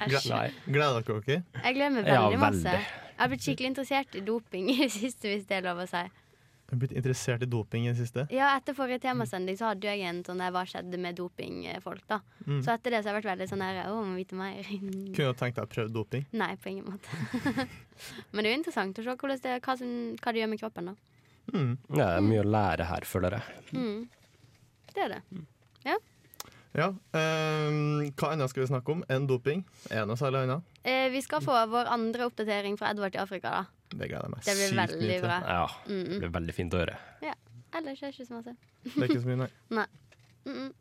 Æsj. Nei. Gleder dere dere? Jeg gleder meg Ja, veldig masse. veldig. Jeg har blitt skikkelig interessert i doping i det siste, hvis det er lov å si. Jeg har blitt interessert i doping i det siste. Ja, etter forrige temasending så hadde jo jeg en sånn der 'Hva skjedde med dopingfolk', da. Mm. Så etter det så har jeg vært veldig sånn her 'Å, må vite mer'. Kunne jo tenkt deg å prøve doping. Nei, på ingen måte. Men det er jo interessant å se hvordan det, hva, som, hva det gjør med kroppen, da. Ja, Det er mye å lære her, føler jeg. Det er det. Ja, ehm, Hva annet skal vi snakke om enn doping? Er det noe særlig annet? Eh, vi skal få vår andre oppdatering fra Edvard i Afrika, da. Det gleder jeg meg Det blir sykt mye til. veldig bra. Ja, Mm. Det blir veldig fint å høre. Ja. Ellers er det ikke så masse. Det er ikke så mye, nei. Nei. Mm -mm.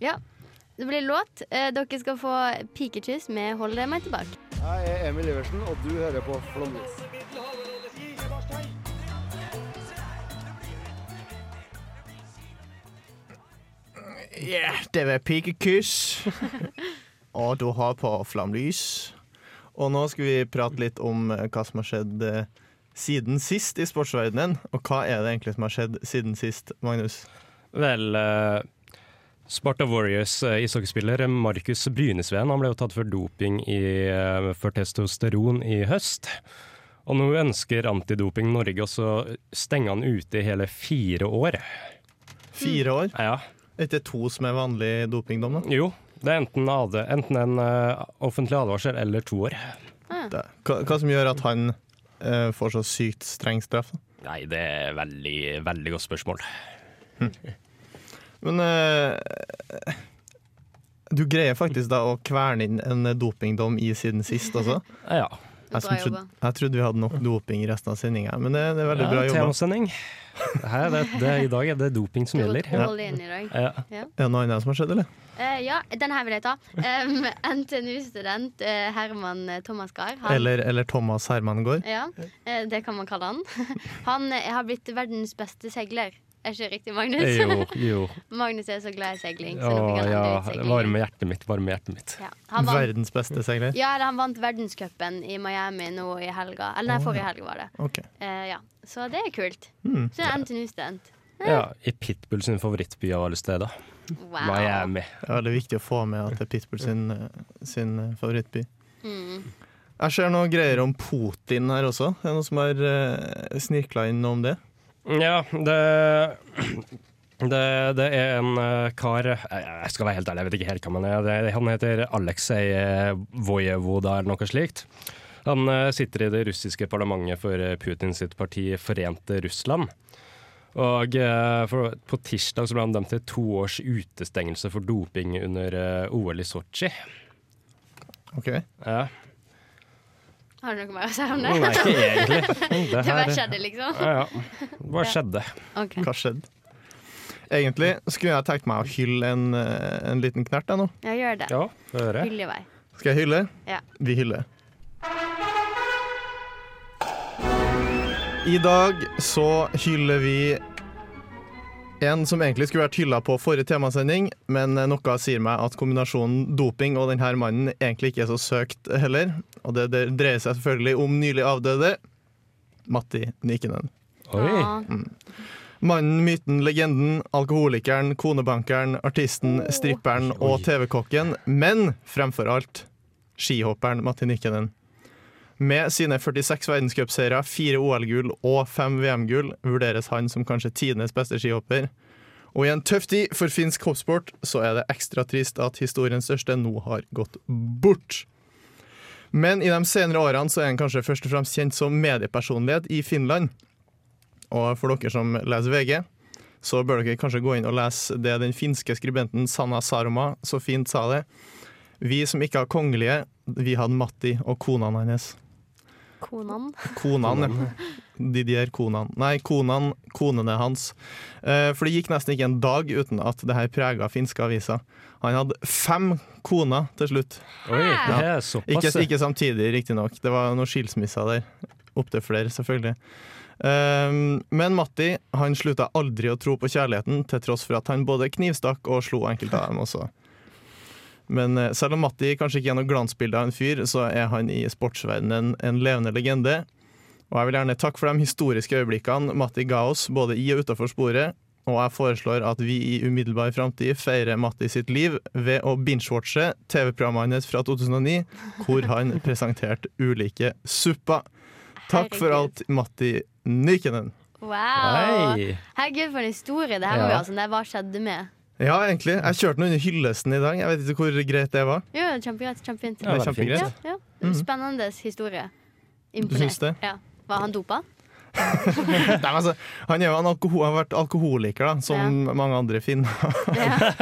Ja. Det blir låt. Eh, dere skal få pikekyss med 'Hold deg meg tilbake'. Jeg er Emil Iversen, og du hører på Flåmlys. Ja, det var pikekyss. Og du har på flamlys. Og nå skal vi prate litt om eh, hva som har skjedd eh, siden sist i sportsverdenen. Og hva er det egentlig som har skjedd siden sist, Magnus? Vel, eh, Sparta Warriors eh, ishockeyspiller Markus Brynesveen han ble jo tatt for doping i, eh, for testosteron i høst. Og nå ønsker Antidoping Norge også å stenge han ute i hele fire år. Fire år? Ja, Er ikke det to som er vanlig dopingdom, da? Jo, det er enten, ad, enten en eh, offentlig advarsel eller to år. Det. Hva, hva som gjør at han eh, får så sykt streng straff? da? Nei, det er veldig, veldig godt spørsmål. Men eh, du greier faktisk da å kverne inn en dopingdom i siden sist også. Ja. Jeg, som Bra trodde, jobba. jeg trodde vi hadde nok doping i resten av sendinga, men det, det er veldig ja bra jobba. Temasending. Her er det, det, I dag er det doping Du som har gjelder. gått all in i dag. Ja. Er det noe annet som har skjedd, eller? Eh, ja, den her vil jeg ta. Um, NTNU-student eh, Herman eh, Thomas Gahr. han- Eller, eller Thomas Herman går? Ja, eh, det kan man kalle han. Han eh, har blitt verdens beste seiler. Er ikke riktig, Magnus? Jo, jo. Magnus er så glad i seiling. Så Å nå fikk han ja. andre utseiling. Varme hjertet mitt, varme hjertet mitt. Ja, han vant, Verdens beste seiler? ja, eller han vant verdenscupen i Miami nå i helga. Eller nei, forrige helg var det. OK. Eh, ja. Så det er kult. Hmm. Så er NTNU-student. Ja, I Pitbull sin favorittby av alle steder. Wow. Miami. Det er veldig viktig å få med at det er Pitbull sin, eh, sin eh, favorittby. Mm. Jeg ser noe greier om Putin her også. Er det noen som har uh, snirkla inn noe om det? Ja, det det, det er en eh, kar Jeg- Jeg skal være helt ærlig, jeg vet ikke helt hva han er. Det- Han heter Aleksej eh, Vojevoda eller noe slikt. Han eh, sitter i det russiske parlamentet for eh, Putin sitt parti Forente Russland. Og eh, for, på tirsdag så ble han dømt til to års utestengelse for doping under eh, OL i Sotsji. OK. Ja. Har du noe mer å si om det? Nei, ikke egentlig. Det Det bare her- skjedde, liksom. Ja, ja. Hva skjedde? Ok. Hva skjedde? Egentlig skulle jeg tenkt meg å hylle en, eh, en liten knert. Jeg, nå. Ja, gjør det. Ja, få høre. Hyll i vei. Skal jeg hylle? Ja. Vi hyller. I dag så hyller vi en som egentlig skulle vært hylla på forrige temasending, men eh, noe sier meg at kombinasjonen doping og denne mannen egentlig ikke er så søkt heller. Og det det dreier seg selvfølgelig om nylig avdøde Matti Nikinen. Oi. Ja. Mannen, myten, legenden, alkoholikeren, konebankeren, artisten, stripperen og TV-kokken. Men fremfor alt skihopperen Matti Nikkinen. Med sine 46 verdenscupseiere, fire OL-gull og fem VM-gull vurderes han som kanskje tidenes beste skihopper. Og i en tøff tid for finsk hoppsport så er det ekstra trist at historiens største nå har gått bort. Men i de senere årene så er han kanskje først og fremst kjent som mediepersonlighet i Finland. Og for dere som leser VG, så bør dere kanskje gå inn og lese det den finske skribenten Sanna Saroma så fint sa det. Vi som ikke har kongelige, vi hadde Matti og konene hennes. Konan. Konene. Didier Konan. Nei, Konan, konene hans. Eh, For det gikk nesten ikke en dag uten at det her prega finske aviser. Han hadde fem koner til slutt. Oi, det er Ikke, såpass. ikke samtidig, riktignok. Det var noen skilsmisser der. Opptil flere, selvfølgelig. Ehm, men Matti han slutta aldri å tro på kjærligheten, til tross for at han både knivstakk og slo enkelte av dem også. Men eh, selv om Matti kanskje ikke er noe glansbilde av en fyr, så er han i sportsverdenen en levende legende. Og jeg vil gjerne takke for de historiske øyeblikkene Matti ga oss, både i og utafor sporet. Og jeg foreslår at vi i umiddelbar framtid feirer Matti sitt liv ved å binge-watche TV-programmet hans fra 2009, hvor han presenterte ulike supper. Takk for alt, Matti Nykenen. Wow. Hei. Herregud, for en historie. Det her må Ja. vi ha sånn der. Hva skjedde med? Ja, egentlig. Jeg kjørte den under hyllesten i dag. Jeg vet ikke hvor greit det var. Jo, kjempegreit. Kjempefint. Det Ja, er veldig fint. kjempegreit. Ja, ja. Spennende historie. Imponert. syns det? Ja. Var han dopa? Nei, men altså, han, er jo en alkoho- han har vært alkoholiker, da, som mange andre finner. Ja.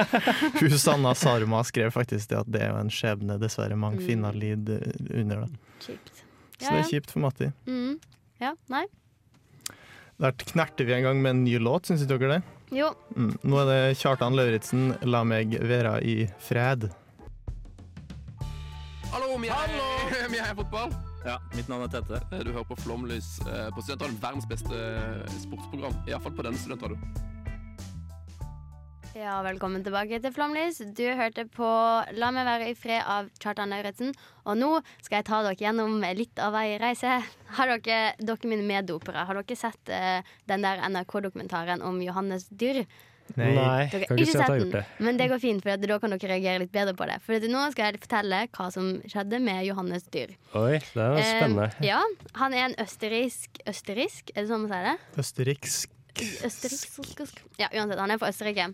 Hun Sanna Sarma skrev faktisk det at det er jo en skjebne dessverre mange finner lider under. Da. Kjipt. Så det er kjipt for Matti. Mm. ja. Nei. Der knerter vi en gang med en ny låt, syns ikke dere det? Jo. Mm. Nå er det Kjartan Lauritzen, 'La meg vera i fred'. Hallo, vi er, vi er fotball. Ja, Mitt navn er Tette. Du hører på Flomlys eh, på Studentradioen. Verdens beste eh, sportsprogram. Iallfall på denne studentradioen. Ja, velkommen tilbake til Flomlys. Du hørte på La meg være i fred av Kjartan Lauritzen. Og nå skal jeg ta dere gjennom litt av ei reise. Har dere, dere mine meddopere, har dere sett eh, den der NRK-dokumentaren om Johannes Dyrr? Nei, Dere kan ikke si at jeg har gjort det. men det går fint, for at da kan dere reagere litt bedre på det. For at nå skal jeg fortelle hva som skjedde med Johannes Dyrr. Oi, det er Eh, spennende. ja, han er en østerriksk Østerriksk, er det sånn man sier det? Østerriksk. Østerriksk Ja, uansett, han er fra Østerrike.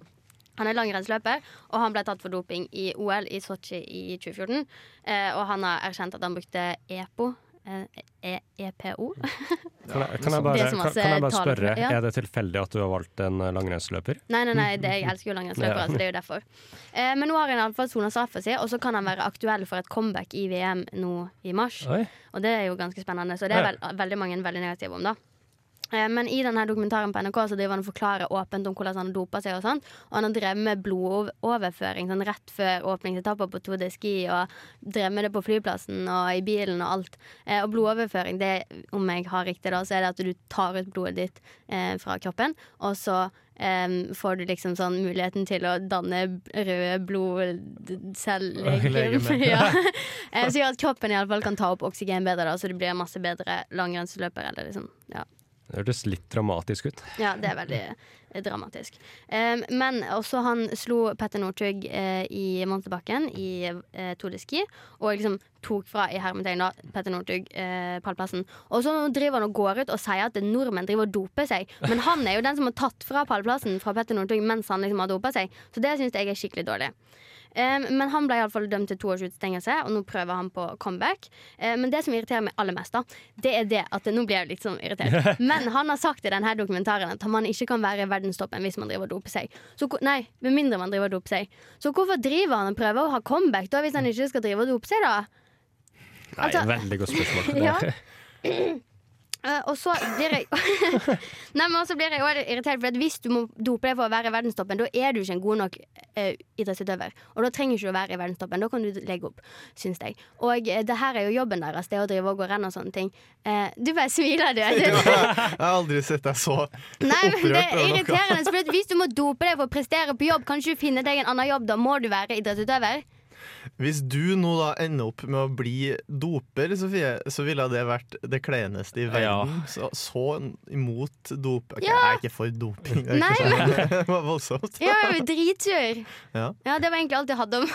Han er langrennsløper, og han ble tatt for doping i OL i Sotsji i 2014. Eh, og han har erkjent at han brukte EPO. eh, E EPO? Kan jeg, kan jeg bare, Det som kan, masse kan jeg bare tall- spørre, Ja. er det tilfeldig at du har valgt en eh, langrennsløper? Nei, nei, nei, det, jeg elsker jo langrennsløpere, Ja. så det er jo derfor. Eh, men nå har han iallfall sona straffa si, og så kan han være aktuell for et comeback i VM nå i mars. Oi. Og det er jo ganske spennende, så det er vel, veldig mange veldig negative om, da. Eh, Men i denne dokumentaren på NRK Så driver han og forklarer åpent om hvordan han doper seg. Og sånt Og han har drevet med blodoverføring sånn rett før åpningsetapper på Tour de Ski. Og drevet med det på flyplassen og i bilen og alt. Eh, Og blodoverføring, det, om jeg har riktig, da så er det at du tar ut blodet ditt eh, fra kroppen, og så eh, får du liksom sånn muligheten til å danne b- røde blodcellegemer. Legemer. Ja. Eh, Så gjør at kroppen i alle fall kan ta opp oksygen bedre, da, så du blir masse bedre langrennsløper. Eller liksom, ja. Det hørtes litt dramatisk ut. ja, det er veldig eh, dramatisk. Eh, men også han slo Petter Northug eh, i Monsterbakken i eh, Tour de Ski, og liksom tok fra i hermetegn da Petter Northug eh, pallplassen. Og så driver han og går ut og sier at nordmenn driver og doper seg, men han er jo den som har tatt fra pallplassen fra Petter Northug mens han liksom har dopa seg, så det syns jeg er skikkelig dårlig. Um, men han ble i alle fall dømt til to års utestengelse, og nå prøver han på comeback. Eh, men det som irriterer meg aller mest, da, det er det at Nå blir jeg litt sånn irritert. Men han har sagt i denne dokumentaren at man ikke kan være i verdenstoppen hvis man driver og doper seg. Så, ko- nei, med mindre man driver og doper seg. Så hvorfor driver han og prøver å ha comeback da, hvis han ikke skal drive og dope seg, da? Nei, Altså- veldig godt spørsmål. Ja. Eh, og så blir jeg Nei, men også blir jeg også irritert, for at hvis du må dope deg for å være i verdenstoppen, da er du ikke en god nok eh, idrettsutøver. Og da trenger ikke du å være i verdenstoppen. Da kan du legge opp, syns jeg. Og eh, det her er jo jobben deres, det å drive og gå renn og sånne ting. Eh, du bare smiler, du. Jeg har aldri sett deg så Nei, men opprørt det er over noe. irriterende. For at hvis du må dope deg for å prestere på jobb, kan ikke du finne deg en annen jobb? Da må du være idrettsutøver. Hvis du nå da ender opp med å bli doper, Sofie, så ville det vært det kleineste i Ja. verden. Så, så imot dop Ok, Jeg er ikke for doping. Det, er Nei, ikke sånn. det var voldsomt. Ja, jeg er dritsur. Ja. Ja, det var egentlig alt jeg hadde om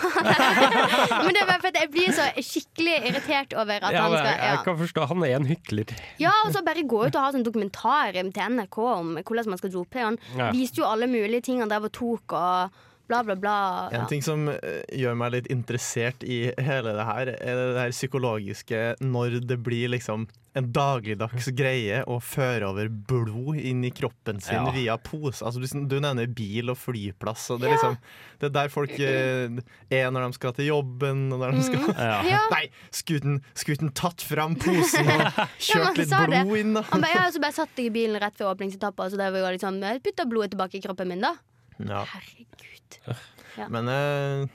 han. Men det var fordi jeg blir så skikkelig irritert over at Ja, han men jeg, jeg skal ja. kan forstå, han er en hykler. ja, og så bare gå ut og ha sånn dokumentar til NRK om hvordan man skal dope. Han Ja. viste jo alle mulige ting han drev og tok og bla, bla, bla. En Ja. ting som eh, gjør meg litt interessert i hele det her, er det her psykologiske når det blir liksom en dagligdags Mm. greie å føre over blod inn i kroppen sin Ja. via pose. Altså, du, sn- du nevner bil og flyplass, og det er liksom Det er der folk eh, er når de skal til jobben, og når de skal Mm. Ja. Nei, skuten, skuten tatt fram posen og Ja, men kjørt litt sa det. blod inn, da. Han bare, ja, så bare satt jeg i bilen rett før åpningsetappa og så der var jeg liksom, jeg putta blodet tilbake i kroppen min. da Ja. Herregud. Men eh,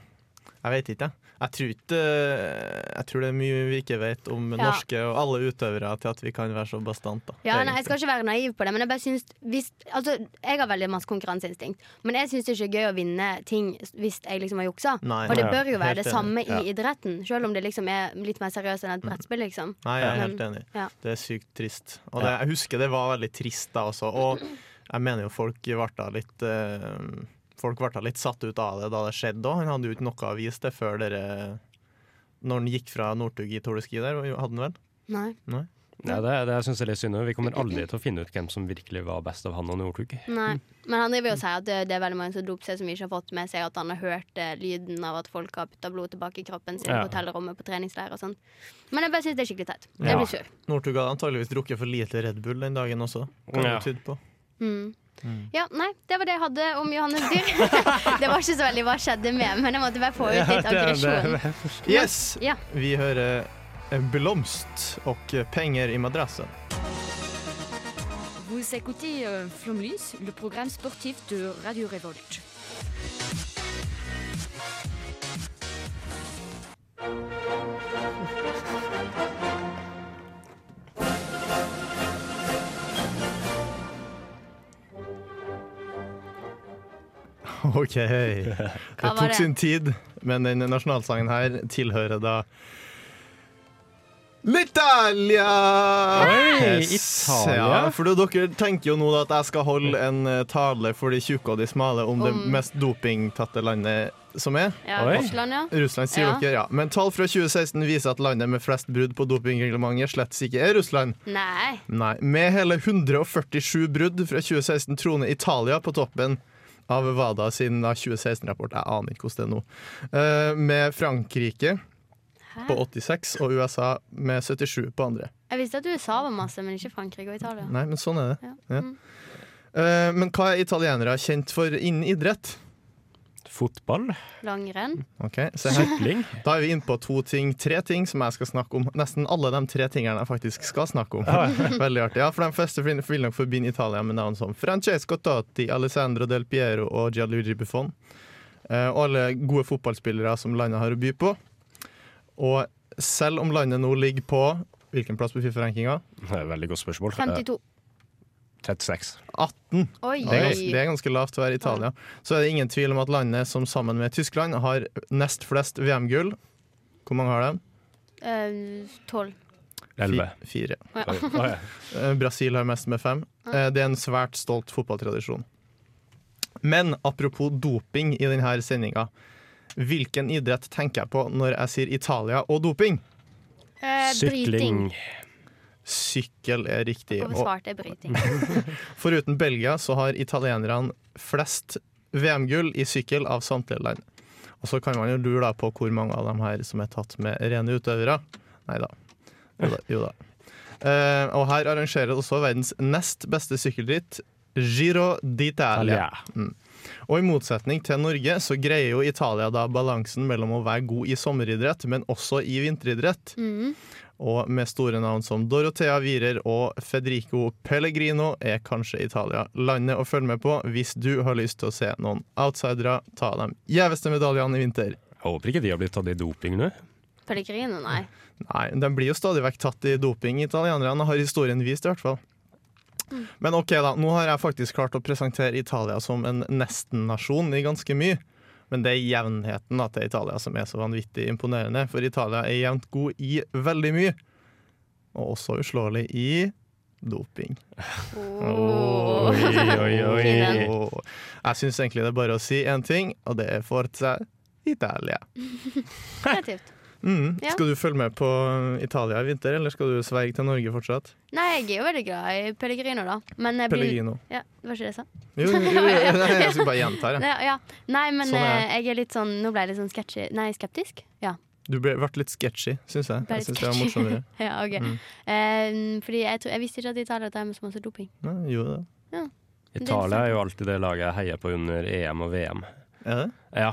jeg vet ikke, jeg. Jeg tror, ikke, eh, jeg tror det er mye vi ikke vet om Ja. norske og alle utøvere til at vi kan være så bastant. Da, Ja, nei, egentlig. Jeg skal ikke være naiv på det, men jeg bare syns hvis, altså, Jeg har veldig masse konkurranseinstinkt, men jeg syns det ikke er gøy å vinne ting hvis jeg liksom har juksa. Nei, og det ja, bør jo helt være det enig. samme i Ja. Mm. idretten, selv om det liksom er litt mer seriøst enn et brettspill. liksom Nei, jeg er Men- helt enig. ja. Det er sykt trist. Og det, jeg husker det var veldig trist da også. Og jeg mener jo folk ble da litt eh, Folk ble da litt satt ut av det da det skjedde òg. Han hadde jo ikke noe å vise til før dere Når han gikk fra Northug i Tour de Ski der, hadde han vel? Nei. Nei, det, det synes jeg er litt synd. Vi kommer aldri til å finne ut hvem som virkelig var best av han og Northug. nei Men han Mm. driver jo og sier at det, det er veldig mange som doper seg som ikke har fått med seg at han har hørt eh, lyden av at folk har putta blod tilbake i kroppen sin Ja. på hotellrommet på treningsleir og sånn. Men jeg bare syns det er skikkelig teit. Ja. Jeg blir sur. Northug hadde antageligvis drukket for lite Red Bull den dagen også. Kan Ja. det tyde på. Mm. Ja, nei, det var det jeg hadde om Johannes Dyr. det var ikke så veldig hva skjedde med, men jeg måtte bare få ut litt aggresjon. Yes! Ja. Vi hører en blomst og penger i madrassen. Vous écoutez euh, Flomlys, le programme sportif de Radio Révolte. OK. Det Hva var tok det? sin tid, men den nasjonalsangen her tilhører da L'Italia! Hei, Yes. Italia. Ja, for da- dere tenker jo nå da at jeg skal holde en eh, tale for de tjukke og de smale om det Om- mest dopingtatte landet som er. Ja, Oi. Russland, ja. Russland, sier Ja. dere, ja. Men tall fra 2016 viser at landet med flest brudd på dopingreglementet slett ikke er Russland. Nei. Nei. Med hele 147 brudd fra 2016 troner Italia på toppen av WADA sin da 2016-rapport. Jeg aner ikke hvordan det er nå. Eh, med Frankrike på 86 og USA med 77 på andre. Jeg visste at USA var masse, men ikke Frankrike og Italia. Nei, men sånn er det. Ja. Ja. Eh, men hva er italienere kjent for innen idrett? Fotball, Langrenn. Ok, se her. sykling. Da er vi inne på to ting, tre ting som jeg skal snakke om. Nesten alle de tre tingene jeg faktisk skal snakke om. Veldig artig. Ja, for de fleste vil vil nok forbinde Italia med navn som Francesco Totti, Alessandro Del Piero og Gianluigi Buffon. Eh, og alle gode fotballspillere som landet har å by på. Og selv om landet nå ligger på Hvilken plass på Fifa-rankinga? Det er et veldig godt spørsmål. Eh, 52. 36. 18. Oi. Det er, ganske, det er ganske lavt å være Italia. Så er det ingen tvil om at landet som sammen med Tyskland har nest flest VM-gull. Hvor mange har de? Eh, 12. 11. Fi- Fire. Oi, oi. Eh, Brasil har mest med fem. Eh, Det er en svært stolt fotballtradisjon. Men apropos doping i denne sendinga. Hvilken idrett tenker jeg på når jeg sier Italia og doping? Eh, Sykling. bryting. Sykkel er riktig. Hvorfor Og svarte jeg bryting? foruten Belgia så har italienerne flest VM-gull i sykkel av samtlige land. Og så kan man jo lure da på hvor mange av dem her som er tatt med rene utøvere. Nei da. Jo da. Jo da. Eh, og her arrangeres også verdens nest beste sykkelritt, Giro d'Italia. Ja. Og i motsetning til Norge så greier jo Italia da balansen mellom å være god i sommeridrett, men også i vinteridrett. Og med store navn som Dorothea Wierer og Federico Pellegrino er kanskje Italia landet å følge med på hvis du har lyst til å se noen outsidere ta de gjeveste medaljene i vinter. Jeg håper ikke de har blitt tatt i doping nå. Pellegrino, nei. Nei, de blir jo stadig vekk tatt i doping, italienerne, har historien vist i hvert fall. Mm. Men ok da, nå har jeg faktisk klart å presentere Italia som en nesten-nasjon i ganske mye. Men det er jevnheten da, til Italia som er så vanvittig imponerende, for Italia er jevnt god i veldig mye. Og også uslåelig i doping. Oh. oi, oi. Fin den. Og jeg syns egentlig det er bare å si én ting, og det er Forza Italia. Kreativt. Mm. Ja. Skal du følge med på Italia i vinter, eller skal du sverge til Norge fortsatt? Nei, jeg er jo veldig glad i Pellegrino, da. Men jeg blir- Pellegrino. Ja, det var ikke det jeg sa? Jo, jo, jo, jo. Nei, jeg skal bare gjenta det. Nei, ja. Nei men Sånn er det. eh, jeg er litt sånn Nå ble jeg litt sånn sketchy Nei, skeptisk. Ja. Du ble, ble litt sketchy, syns jeg. Ble Jeg litt synes det var sketchy. morsommere. ja ok Mm. Eh, Fordi jeg, tror, jeg visste ikke at Italia drev med så masse doping. Nei, jo da. Italia er jo alltid det laget jeg heier på under EM og VM. Er det? Ja,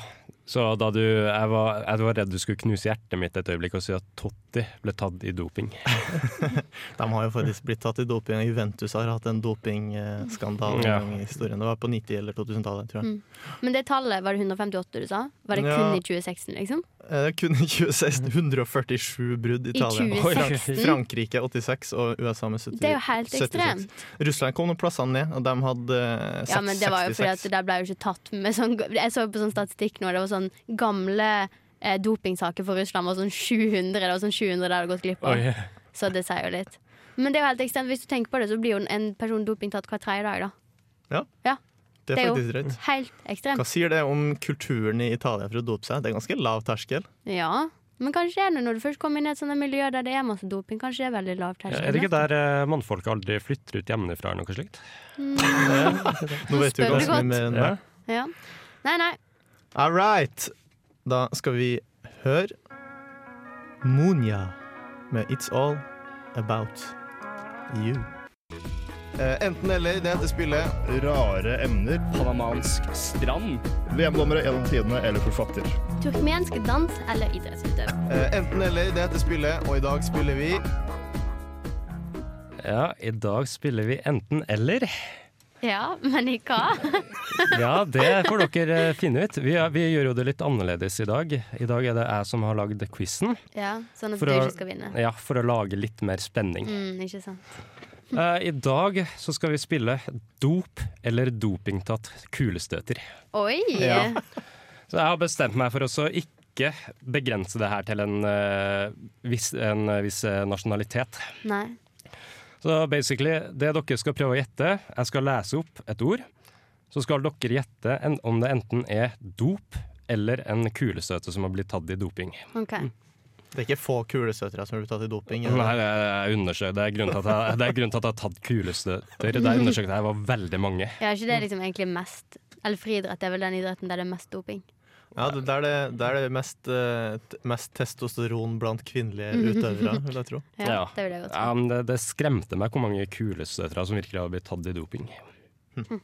så da du Jeg var, jeg var redd du skulle knuse hjertet mitt et øyeblikk og si at Totti ble tatt i doping. De har jo faktisk blitt tatt i doping. Juventus har hatt en dopingskandale Ja. en gang i historien. Det var på 90- eller 2000-tallet, tror Mm. jeg. Men det tallet, var det 158 du sa? Var det Ja. kun i 2016, liksom? Eh, Kun i 2016 147 brudd i I Italia. 2016? Oi. Frankrike 86 og USA med 70. Det er jo helt 76. ekstremt. Russland kom noen plassene ned, og de hadde eh, Ja, men det var jo fordi at 66. der ble jo ikke tatt med sånn Jeg så på sånn statistikk nå, det var sånn gamle eh, dopingsaker for Russland var sånn 700, det var sånn 700 de hadde gått glipp av. Oi. Så det sier jo litt. Men det er jo helt ekstremt. Hvis du tenker på det, så blir jo en person dopingtatt hver tredje dag, da. Ja. ja. Det det er er jo- faktisk drøyt. Helt ekstremt. Hva sier det om kulturen i Italia for å dope seg? Det er ganske lav terskel. Ja. Men kanskje det er det når du først kommer inn i et sånt miljø der det er masse doping. Kanskje det er veldig lav Ja, terskel. Er det ikke der eh, mannfolk aldri flytter ut hjemmefra eller noe slikt? Nå vet du spør ganske du mye godt. mer enn Ja. meg. Ja. Nei, nei. All right. Da skal vi høre Munya med It's All About You. Eh, enten eller, det heter spillet. Rare emner. Panamansk strand. VM-dommere gjennom tidene eller forfatter. Turkmensk dans eller idrettsutøver. Eh, enten eller, det heter spillet, og i dag spiller vi Ja, i dag spiller vi enten-eller. Ja, men i hva? Ja, det får dere eh, finne ut. Vi, er- vi gjør jo det litt annerledes i dag. I dag er det jeg som har lagd quizen. Ja, Sånn at For du å- ikke skal vinne. Ja, for å lage litt mer spenning. Mm, ikke sant. Eh, I dag så skal vi spille dop eller dopingtatt kulestøter. Oi! Ja. Så jeg har bestemt meg for å så ikke begrense det her til en eh, viss, en eh, viss eh, nasjonalitet. Nei. Så basically, det dere skal prøve å gjette Jeg skal lese opp et ord. Så skal dere gjette en, om det enten er dop eller en kulestøte som har blitt tatt i doping. OK. Det er ikke få kulestøtere som har blitt tatt i doping. Nei, det er, undersøkt, det er grunnen til at jeg, det er grunnen til at jeg har tatt kulestøter. Det er undersøkt at jeg var veldig mange. Ja, er ikke det liksom egentlig mest Eller friidrett er vel den idretten der det er mest doping? Ja, det, der, er det, der er det mest, eh, t- mest testosteron blant kvinnelige utøvere, vil jeg tro. Ja, Ja. Det vil jeg godt tro. Ja, men det, det skremte meg hvor mange kulestøtere som virkelig hadde blitt tatt i doping. Hm. Hm.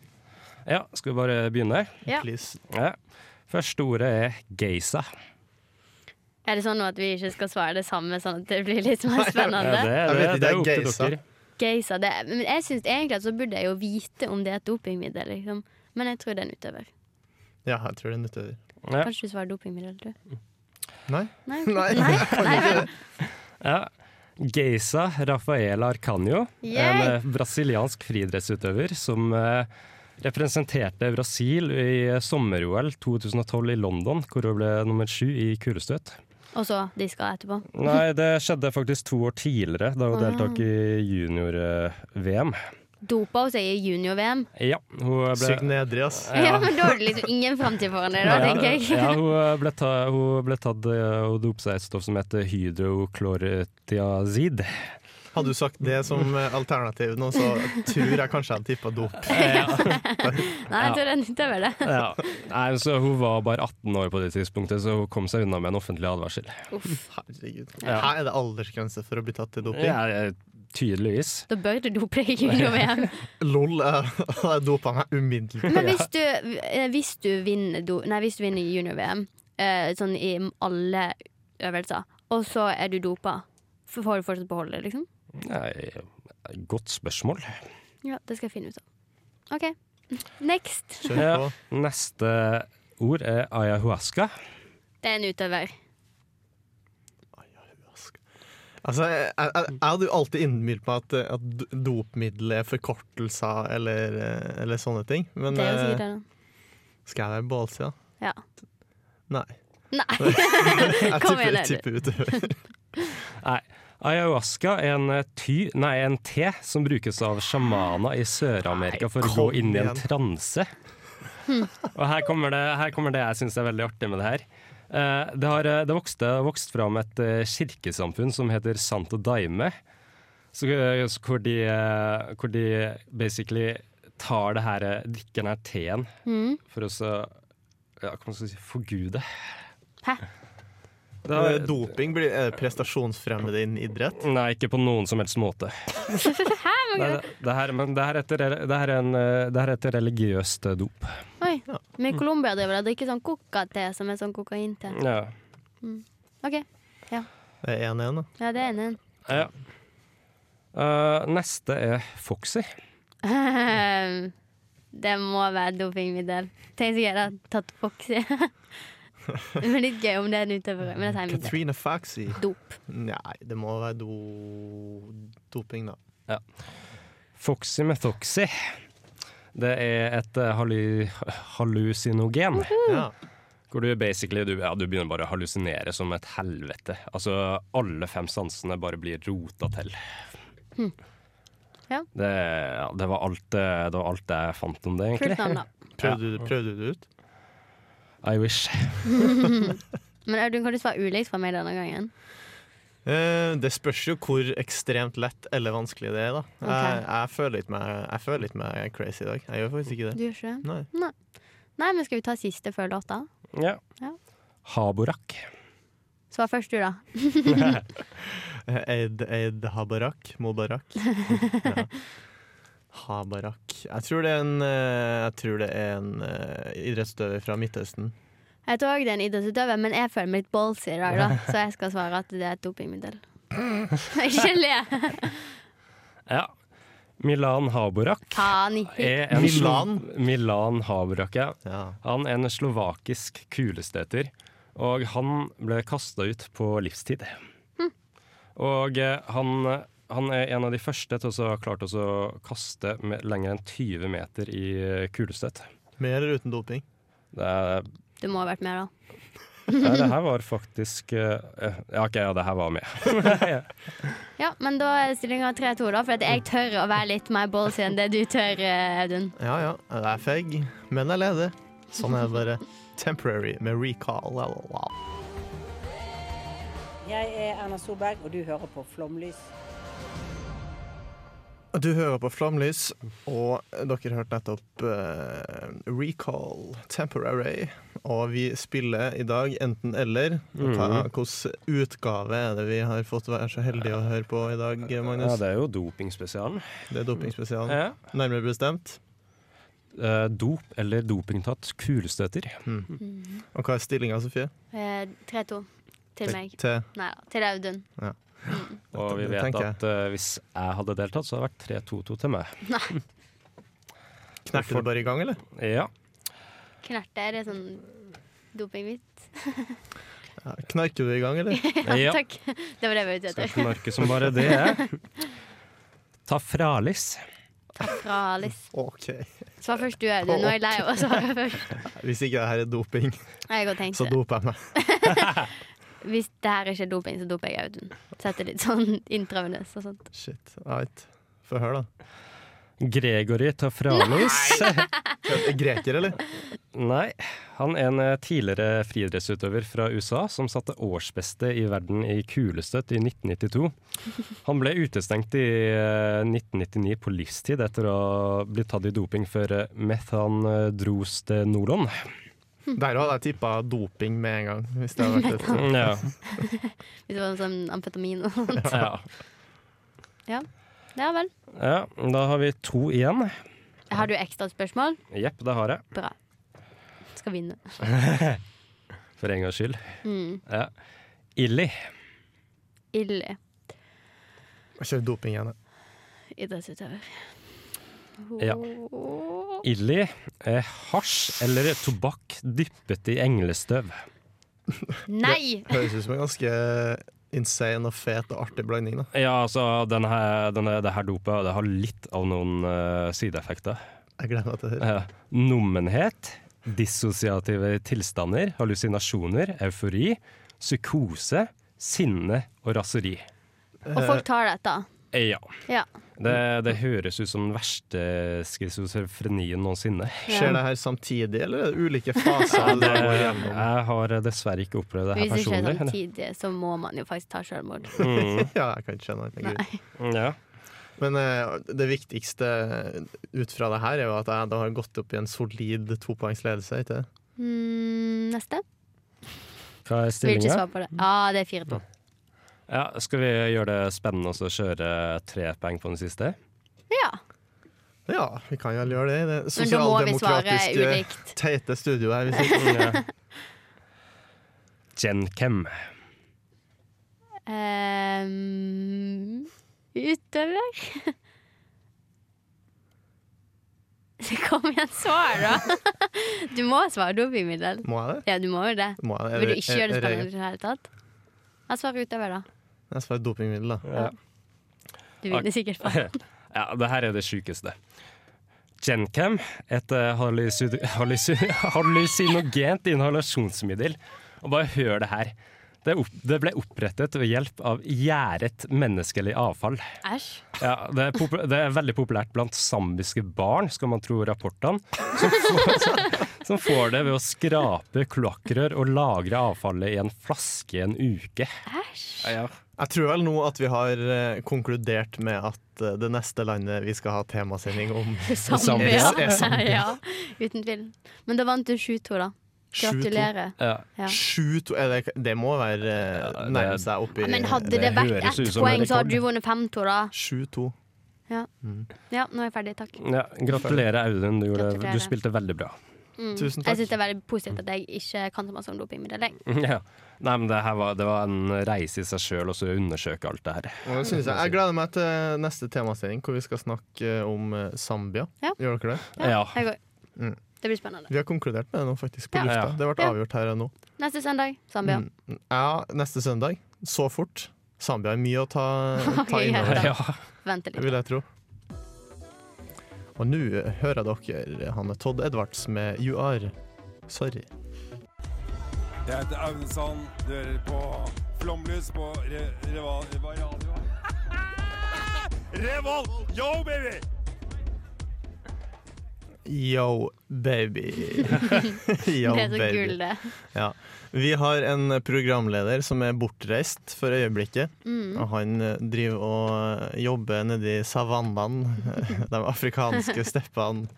Ja, skal vi bare begynne? Ja. Please. Ja. Første ordet er geisa. Er det sånn nå at vi ikke skal svare det samme, sånn at det blir litt mer Ja, spennende? det, Jeg det, vet ikke, det det er er opp til geisa. dere. Geisa, det, men jeg synes egentlig at så burde jeg jo vite om det er et dopingmiddel, liksom. Men jeg tror det er en utøver. Ja, jeg tror det er en utøver. Ja. Kanskje du svarer dopingmiddel, du? Nei. Nei, Nei. Nei. Nei vel. Ja. Geisa Rafaela Arcanio, en Yay! eh, brasiliansk friidrettsutøver som eh, representerte Brasil i eh, sommer-OL 2012 i London, hvor hun ble nummer sju i kulestøt. Og så diska etterpå. Nei, det skjedde faktisk to år tidligere, da hun deltok i junior-VM. Dopa hos seg i junior-VM. Ja, hun ble Sykt nedrig, ass. Ja. men da er det liksom ingen framtid foran deg, da, Ja, tenker jeg. ja, hun eh, ble, ta, hun ble tatt eh, Hun dopte seg i et stoff som heter hydroklortiazid. Hadde du sagt det som eh, alternativ nå, så tror jeg kanskje jeg hadde tippa dop. Nei, jeg tror det er en utøver, det. Ja. Nei, så hun var bare 18 år på det tidspunktet, så hun kom seg unna med en offentlig advarsel. Herregud. Ja. Her er det aldersgrense for å bli tatt i doping. Ja, eh, tydeligvis. Da bør du dope deg i junior-VM. Lol, eh, jeg jeg dopa meg umiddelbart. Men hvis du, eh, hvis du vinner, do- nei, hvis du vinner junior-VM, eh, sånn i alle øvelser, og så er du dopa, f- får du fortsatt beholde det, liksom? Nei, godt spørsmål. Ja, det skal jeg finne ut av. OK. Next. Kjør Ja. på. Neste ord er ayahuasca. Det er en utøver. Altså, jeg, jeg, jeg jeg hadde jo alltid innbilt meg at, eh, at do- dopmiddel er forkortelser eller, eh, eller sånne ting. Men Det er jo eh, sikkert det. da. skal jeg være ballsida? Ja. Nei. Nei. Jeg Hva tipper, mener du? tipper utøver. Nei. Ayahuasca er en, eh, ty, nei, en te som brukes av sjamaner i Sør-Amerika for å gå kom inn i en igjen. transe. Og her kommer det, her kommer det jeg syns er veldig artig med det her. Eh, Det har eh, det vokste, vokst fram et eh, kirkesamfunn som heter Santo Daime. Så, eh, så hvor, de, eh, hvor de basically tar det her, eh, drikker den her teen for å så ja, Hva skal man si forgude. Hæ? Det har- Doping blir er det prestasjonsfremmende innen idrett. Nei, ikke på noen som helst måte. Nei, det, det, her, men det, her heter, det, her er en, eh, det her heter religiøst eh, dop. Oi. Men i Colombia driver de og drikker sånn coca-te, som er sånn kokain-te. Ja. OK. Det er 1-1, da. Ja, det er enig. Ja. Eh, neste er Foxy. Ehm, det må være dopingmiddel. Tenk hvis jeg hadde tatt Foxy. Men det er litt gøy om det er en utøver. Men dette er middel. Katrina Foxy. Dop. Nei, det må være do... doping, da. Foxy med Foxy. Det er et eh, hallu- hallusinogen. Mm. Ja. Hvor du basically du, ja, du begynner bare å hallusinere som et helvete. Altså alle fem sansene bare blir rota til. Ja. Det, ja, det, var alt, eh, det var alt jeg fant om det, egentlig. Kult navn, da. Prøvde, du- prøvde du det ut? I wish. Men Audun, kan du svare ulikt fra meg denne gangen? Eh, det spørs jo hvor ekstremt lett eller vanskelig det er, da. Jeg, Ok. jeg føler litt meg, jeg føler litt meg crazy i dag. Jeg gjør faktisk ikke det. Du gjør ikke det? Nei. Nei, men skal vi ta siste før låta? Ja. Ja. Haborak. Svar først du, da. Eh, Eid, Eid Habarak. Mobarak. Ja. Habarak. Jeg tror det er en, eh, jeg tror det er en eh, idrettsutøver fra Midtøsten. Jeg tror òg det er en idrettsutøver, men jeg føler meg litt ballsy i dag, da. Så jeg skal svare at det er et dopingmiddel. Ikke le! Ja. Milan Haborak Faen. er en Milan? slo- Milan Haborak, ja. Ja. Han er en slovakisk kulesteter, og han ble kasta ut på livstid. Og eh, han, han er en av de første til å så ha klart å så kaste med lenger enn 20 meter i eh, kulestøt. Med eller uten doping? Det, er, Du må ha vært med, da. ja, det her var faktisk eh, Ja, OK, ja, det her var med. Ja, men da er stillinga 3-2, da. For at jeg tør å være litt mer ballsy enn det du tør, eh, Audun. Ja ja, jeg er feig, men jeg leder. Sånn er det bare. Temporary med recall. La, la, la. Jeg er Erna Solberg, og du hører på Flomlys. Du hører på Flamlys, og dere hørte nettopp eh, Recall Temporary. Og vi spiller i dag enten-eller. Mm. Hvilken utgave er det vi har fått være så heldige å høre på i dag, Ja, Magnus? det er jo dopingspesialen. Det er dopingspesialen. Ja. Nærmere bestemt. Eh, dop eller dopingtatt kulestøter. Og hva er stillinga, Sofie? Eh, 3-2 til meg. Til Nei da, til Audun. Og vi Det vet tenker at eh, hvis jeg hadde deltatt, så hadde det vært 3-2-2 til meg. Knerter det bare i gang, eller? Ja. Knerte, er det sånn dopingvits? Ja, Knarker du i gang, eller? ja. Takk. Det var det jeg var ute Skal etter. knarke som bare det. er. Ta fralis. Fra Alice. OK. Svar først du, Audun. Nå er jeg lei av å svare først. Hvis ikke det her er doping, Jeg har tenkt så det. doper jeg meg. Hvis det her ikke er doping, så doper jeg Audun. Setter litt sånn intravenøs og sånt. Shit. Right. Få høre, da. Gregory Tafralis. Greker, eller? Nei. Han er en eh, tidligere friidrettsutøver fra USA som satte årsbeste i verden i kulestøt i 1992. Han ble utestengt i eh, 1999 på livstid etter å ha blitt tatt i doping for eh, methandrostenolon. Der hadde jeg tippa doping med en gang. Hvis det hadde vært et. Ja. Hvis det var sånn amfetamin og sånt. ja. Ja vel. Ja, da har vi to igjen. Har du ekstra spørsmål? Jepp, det har jeg. Bra. Skal vinne. For en gangs skyld. Mm. Ja. Illy. Ille Jeg kjører doping igjen. jeg. idrettsutøver. Ja. Illy er hasj eller tobakk dyppet i englestøv. Nei! Høres ut som en ganske insane og fet og artig blanding. da Ja, altså, den her, den her, det her dopet det har litt av noen eh, sideeffekter. Jeg gleder meg til det. Eh, nummenhet, dissosiative tilstander, hallusinasjoner, eufori, psykose, sinne og raseri. Og folk tar dette. Eh, Ja. Ja. Det, det høres ut som den verste schizofrenien noensinne. Ja. Skjer det her samtidig, eller ulike faser du går gjennom? Jeg har dessverre ikke opplevd det her Hvis det skjer personlig. samtidig, så må man jo faktisk ta selvmord. Mm. ja, jeg kan ikke skjønne at det er Nei. gøy. Men eh, det viktigste ut fra det her er jo at jeg da har gått opp i en solid topoengsledelse, ikke det? Mm, neste. Hva Vil er ikke stillinga? svare på Mm. det. Ja, det er fire to. Ja, skal vi gjøre det spennende og så kjøre tre poeng på den siste? Mm. Ja. Ja, vi kan vel gjøre det. i Det Men da må vi svare sosialdemokratiske ulikt. teite studioet her. vi sitter i. Gen-chem. Um, utover Så Kom igjen, svar, da! Du må svare dopingmiddel. Må jeg det? Ja, du må jo det. Må jeg det? Vil du ikke gjøre det Er- er- er- spennende i det hele tatt? Jeg svarer utover, da. Jeg svarer dopingmiddel, da. Ja. Du Ah. vil det sikkert få. ja, det her er det sjukeste. Gencam, et eh, hallusi- hallusi- hallusinogent inhalasjonsmiddel. Og bare hør det her. Det, opp, det ble opprettet ved hjelp av gjæret menneskelig avfall. Æsj. Ja, det, er popu- det er veldig populært blant zambiske barn, skal man tro rapportene, som får, som får det ved å skrape kloakkrør og lagre avfallet i en flaske en uke. Jeg tror vel nå at vi har eh, konkludert med at eh, det neste landet vi skal ha temasending om, Zambia. er Zambia. ja, uten tvil. Men da vant du 7-2, da. 7-2. Gratulerer. Ja. Sju to er det, det må være eh, nærme seg oppi Men hadde det, vært ett poeng, så hadde du vunnet 5-2, da. Sju-to. Ja. ja, nå er jeg ferdig. Takk. Ja, gratulerer, Audun. Du, gjorde, Gratulerer. du spilte veldig bra. Mm. Tusen takk. Jeg syns det er veldig positivt at jeg ikke kan så masse om dopingmiddel. jeg. Ja. Nei, men det, her var, det var en reise i seg sjøl å undersøke alt det her. Og det synes jeg. jeg gleder meg til neste temasending, hvor vi skal snakke om eh, Zambia. Ja. Gjør dere det? Ja. Jeg går. Mm. Det blir spennende. Vi har konkludert med det nå, faktisk. På Ja. lufta. Ja. Det ble Ja. avgjort her og nå. Neste søndag, Zambia. Mm. Ja, neste søndag. Så fort. Zambia er mye å ta, ta Vi innover. heter- Vent Det litt. vil jeg tro. Og nå hører dere han er Todd Edwards med You Are Sorry. Jeg heter Aunesand, du hører på Flomlys på Re Reval Reva Radio. Revolt! Yo, baby! Yo, baby. Yo, Det er så baby. gull, det. Ja. Vi har en programleder som er bortreist for øyeblikket. Mm. Og han eh, driver og eh, jobber nedi savannene, de afrikanske steppene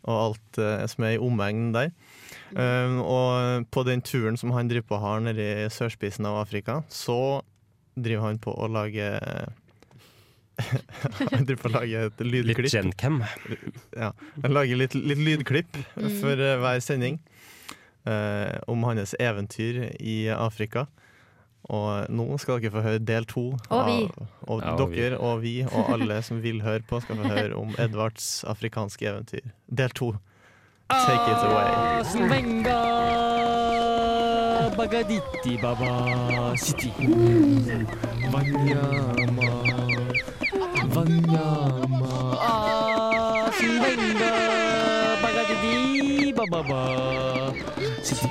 og alt eh, som er i omegnen der. Um, og på den turen som han driver på har nedi sørspissen av Afrika, så driver han på å lage Han driver på å lage et lydklipp. Litt gencam. Ja. Han lager litt, litt lydklipp Mm. for eh, hver sending eh, om hans eventyr i Afrika. Og nå skal dere få høre del to. Og vi. Av, og Ja, og vi. dere og vi og alle som vil høre på, skal få høre om Edvards afrikanske eventyr. Del to. Take it away. Svenga Bagaditi Baba City. Vanyama. Vanyama. Ah, Svenga Bagaditi Baba City.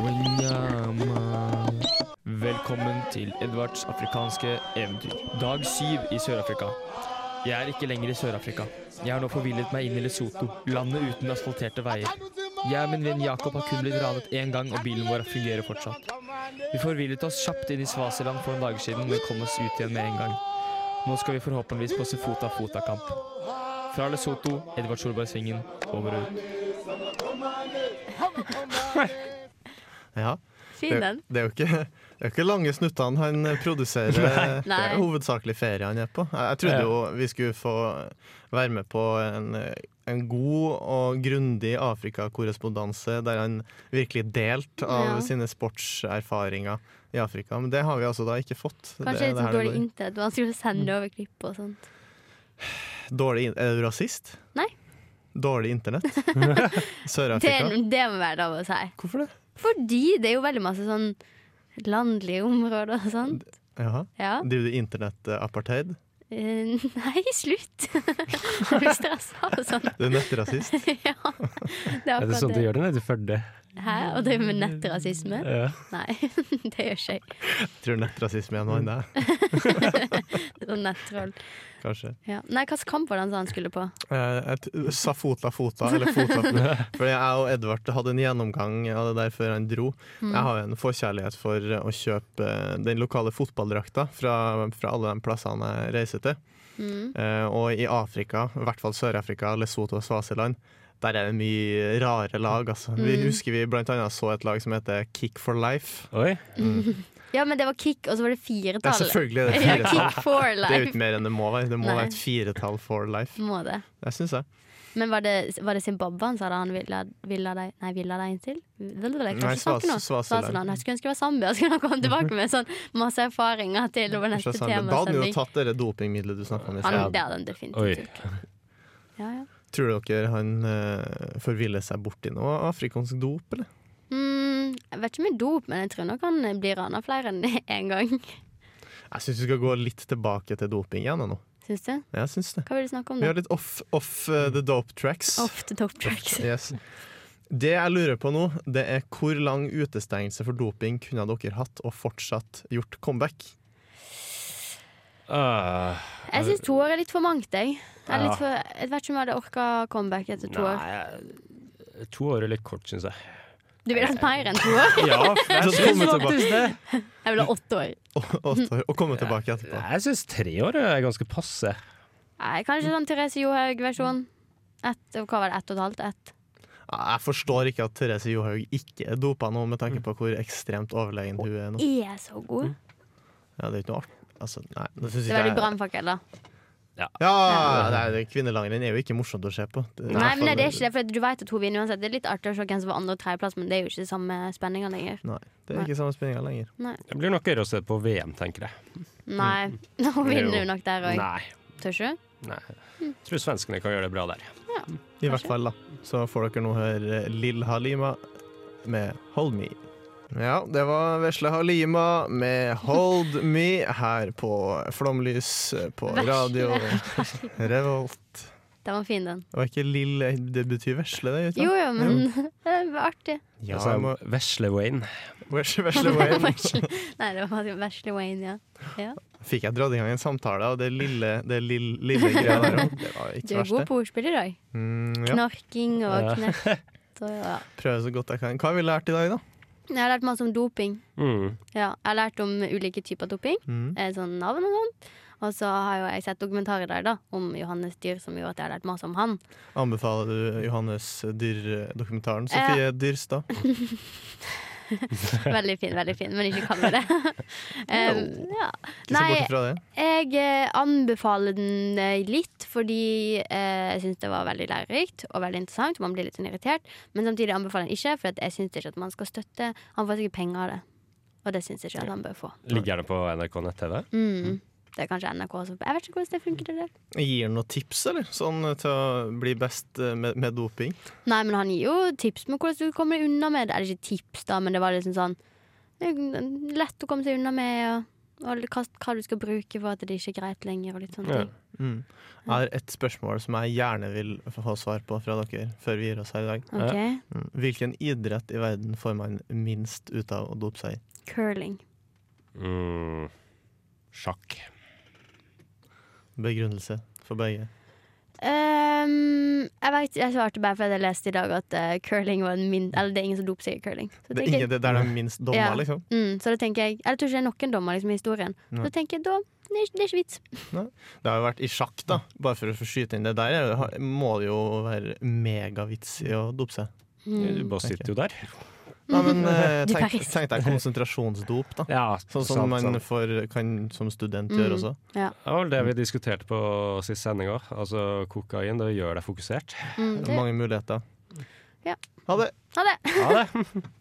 Vanyama. Velkommen til Edvards afrikanske eventyr. Dag syv i Sør-Afrika. Jeg er ikke lenger i Sør-Afrika. Jeg har nå forvillet meg inn i Lesotho, landet uten asfalterte veier. Jeg og min venn Jakob har kun blitt ranet én gang, og bilen vår fungerer fortsatt. Vi forvillet oss kjapt inn i Svasiland for noen dager siden, men kom oss ut igjen med en gang. Nå skal vi forhåpentligvis på Sefota-Fota-kamp. Fra Lesotho, Edvard Solberg Svingen, over og ut. Ja. Fin Det- den. Det er jo ikke, det er jo ikke lange snuttene han eh, produserer. Nei. Det er Nei. hovedsakelig ferie han er på. Jeg jeg trodde Ja. jo vi skulle få være med på en, en god og grundig Afrika-korrespondanse, der han virkelig delte av Ja. sine sportserfaringer i Afrika. Men det har vi altså da ikke fått. Det- Kanskje litt det her sånn det dårlig går i. internett. og Han skulle sende over klipp og sånt. dårlig in- Er du rasist? Nei. Dårlig internett? Det, Sør-Afrika? det må være lov å si. Hvorfor det? Fordi det er jo veldig masse sånn landlige områder og sånt. Jaha. Ja. Driver du internettapartheid? Eh, nei, slutt! Jeg blir stressa og sånn. Du er nettrasist. ja, det er Er det akkurat sånn du det. gjør det nede i Førde? Hæ? Å drive med nettrasisme? Ja. Nei, det gjør ikke jeg. Tror nettrasisme er noe annet, Sånn nettroll. kanskje. Ja. Nei, hvilken kamp var det han sa han skulle på? Eh, jeg t- Sa fotla fota, eller fota Fordi jeg og Edvard hadde en gjennomgang av det der før han dro. Mm. Jeg har jo en forkjærlighet for eh, å kjøpe den lokale fotballdrakta fra, fra alle de plassene jeg reiser til. Mm. Eh, og i Afrika, i hvert fall Sør-Afrika, Lesotho og Swaziland, der er det mye rare lag. Altså. Vi Mm. husker vi blant annet så et lag som heter Kick for Life. Ja, men det var kick, og så var det firetall. Det er selvfølgelig det Ja, firetall. kick for Det er jo life. ikke mer enn det må være. Det må Nei. være et firetall for life. Må det. Det syns jeg. Men var det, var det Zimbabwe han sa da han ville, ville deg Nei, ville deg inn til? Ville Nei, deg kanskje snakke nå? Svas- Swaziland. Swaziland. Jeg skulle ønske det var Zambia, så kunne han komme tilbake med sånn masse erfaringer til over neste Kanskje jeg sa- Da hadde vi jo temasending. tatt det dopingmiddelet du snakka om i Han, det sted. hadde han definitivt Oi. gjort. Ja, ja. Tror dere han uh, forviller seg borti noe afrikansk dop, eller? Mm, jeg vet ikke med dop, men jeg tror nok han blir rana flere enn én gang. Jeg syns vi skal gå litt tilbake til doping igjen nå. Syns du? Jeg syns det. Hva vil du snakke om Vi da? har litt off, off eh, the dope tracks. Off the dope tracks. Yes. Det jeg lurer på nå, det er hvor lang utestengelse for doping kunne dere hatt og fortsatt gjort comeback? Ah, Jeg syns to år er litt for mangt, jeg. Jeg, er Ja. litt for, jeg vet ikke om jeg hadde orka comeback etter to år. To år er litt kort, syns jeg. Du ville hatt mer enn to år? Ja, jeg Så syns komme faktisk det. Jeg ville ha åtte år. Åtte år, og komme tilbake etterpå. Jeg syns tre år er ganske passe. Nei, kanskje sånn Therese Johaug-versjon. Ett- Hva var det, ett og et halvt? Ett? Jeg forstår ikke at Therese Johaug ikke er dopa nå, med tanke på hvor ekstremt overlegen hun er nå. Er jeg så god? Ja, det er ikke noe art. Altså, nei, det synes Det ikke var litt jeg brannfakkel, da. Ja, nei, det- Kvinnelangrenn er jo ikke morsomt å se på. Det- Nei, men det er ikke det, for du vet at hun vinner uansett. Det er litt artig å se hvem som var andre- og tredjeplass, men det er jo ikke samme spenninga lenger. Nei, det er ikke samme spenninga lenger. Nei. Det blir nok gøyere å se på VM, tenker jeg. Nei. Hun vinner Mm. jo nok der òg. Nei. Tør ikke? Nei. Jeg tror svenskene kan gjøre det bra der. I hvert fall, da. Så får dere nå høre Lill Halima med Hold Me. Ja, det var vesle Halima med Hold Me her på Flomlys på Vesle radio Revolt. Den var fin, den. Og ikke Lill, det betyr vesle, det? gjør ikke Jo det? jo, men det var artig. Ja, Altså, jeg må... Vesle Wayne. Vesle, vesle Wayne. Nei, det var Vesle Wayne, ja. ja. Fikk jeg dratt i gang en samtale, og det lille, det lille, lille greia der òg. Det var Du ikke er verst, god det. på ordspill i dag. Mm, ja. Knarking og Ja. knert og ja. Prøve så godt jeg kan. Hva har vi lært i dag, da? Jeg har lært masse om doping. Mm. Ja, jeg har lært om ulike typer doping. Mm. eh, Sånn navn og sånn. Og så har jo jeg sett dokumentarer der da om Johannes Dyr, som gjorde at jeg har lært masse om han. Anbefaler du Johannes Dyrr-dokumentaren? Ja. Sofie Dyrstad. Veldig fin, veldig fin, men ikke kall meg det. um, ja. Ikke se Nei, bort fra det. jeg eh, anbefaler den eh, litt fordi eh, jeg syns det var veldig lærerikt og veldig interessant. og Man blir litt sånn irritert, men samtidig anbefaler jeg den ikke, for at jeg syns ikke at man skal støtte. Han får sikkert penger av det, og det syns jeg ikke at han bør få. Ligger den på NRK nett-TV? Mm. Det er kanskje NRK som Jeg vet ikke hvordan det funker. det der Gir han noen tips, eller? Sånn til å bli best eh, med, med doping? Nei, men han gir jo tips med hvordan du kommer deg unna med det. Er det ikke tips, da, men det var liksom sånn det er Lett å komme seg unna med, og, og hva, hva du skal bruke for at det ikke er greit lenger, og litt sånne Ja. ting. Mm. Jeg har et spørsmål som jeg gjerne vil få svar på fra dere før vi gir oss her i dag. OK. Mm. Hvilken idrett i verden får man minst ut av å dope seg i? Curling. Mm. Sjakk. Begrunnelse for begge. Ehm, jeg, vet, jeg svarte bare fordi jeg leste i dag at eh, curling var en min... Eller det er ingen som doper seg i curling. Så Det er tenker ingen, det der det er minst dommer, Ja. liksom. jeg, mm, så da tenker jeg Jeg tror ikke det er noen dommer liksom, i historien. Så Nei. da tenker jeg da det er, ikke- det er ikke vits. Det har jo vært i sjakk, da. Bare for å få skyte inn det der, er det- må det jo være megavits i å dope seg. Mm. Du bare sitter jo der. Nei, men eh, Mm. Du tenk, Paris. tenk deg konsentrasjonsdop, da. Ja, Sånn som sant, man sant. får, kan som student Mm. gjøre også. Det var vel det vi diskuterte på sist sending òg. Altså kokain, det gjør deg fokusert. Mm, det, Mange muligheter. Ja. Ha det! ha det! Ha det!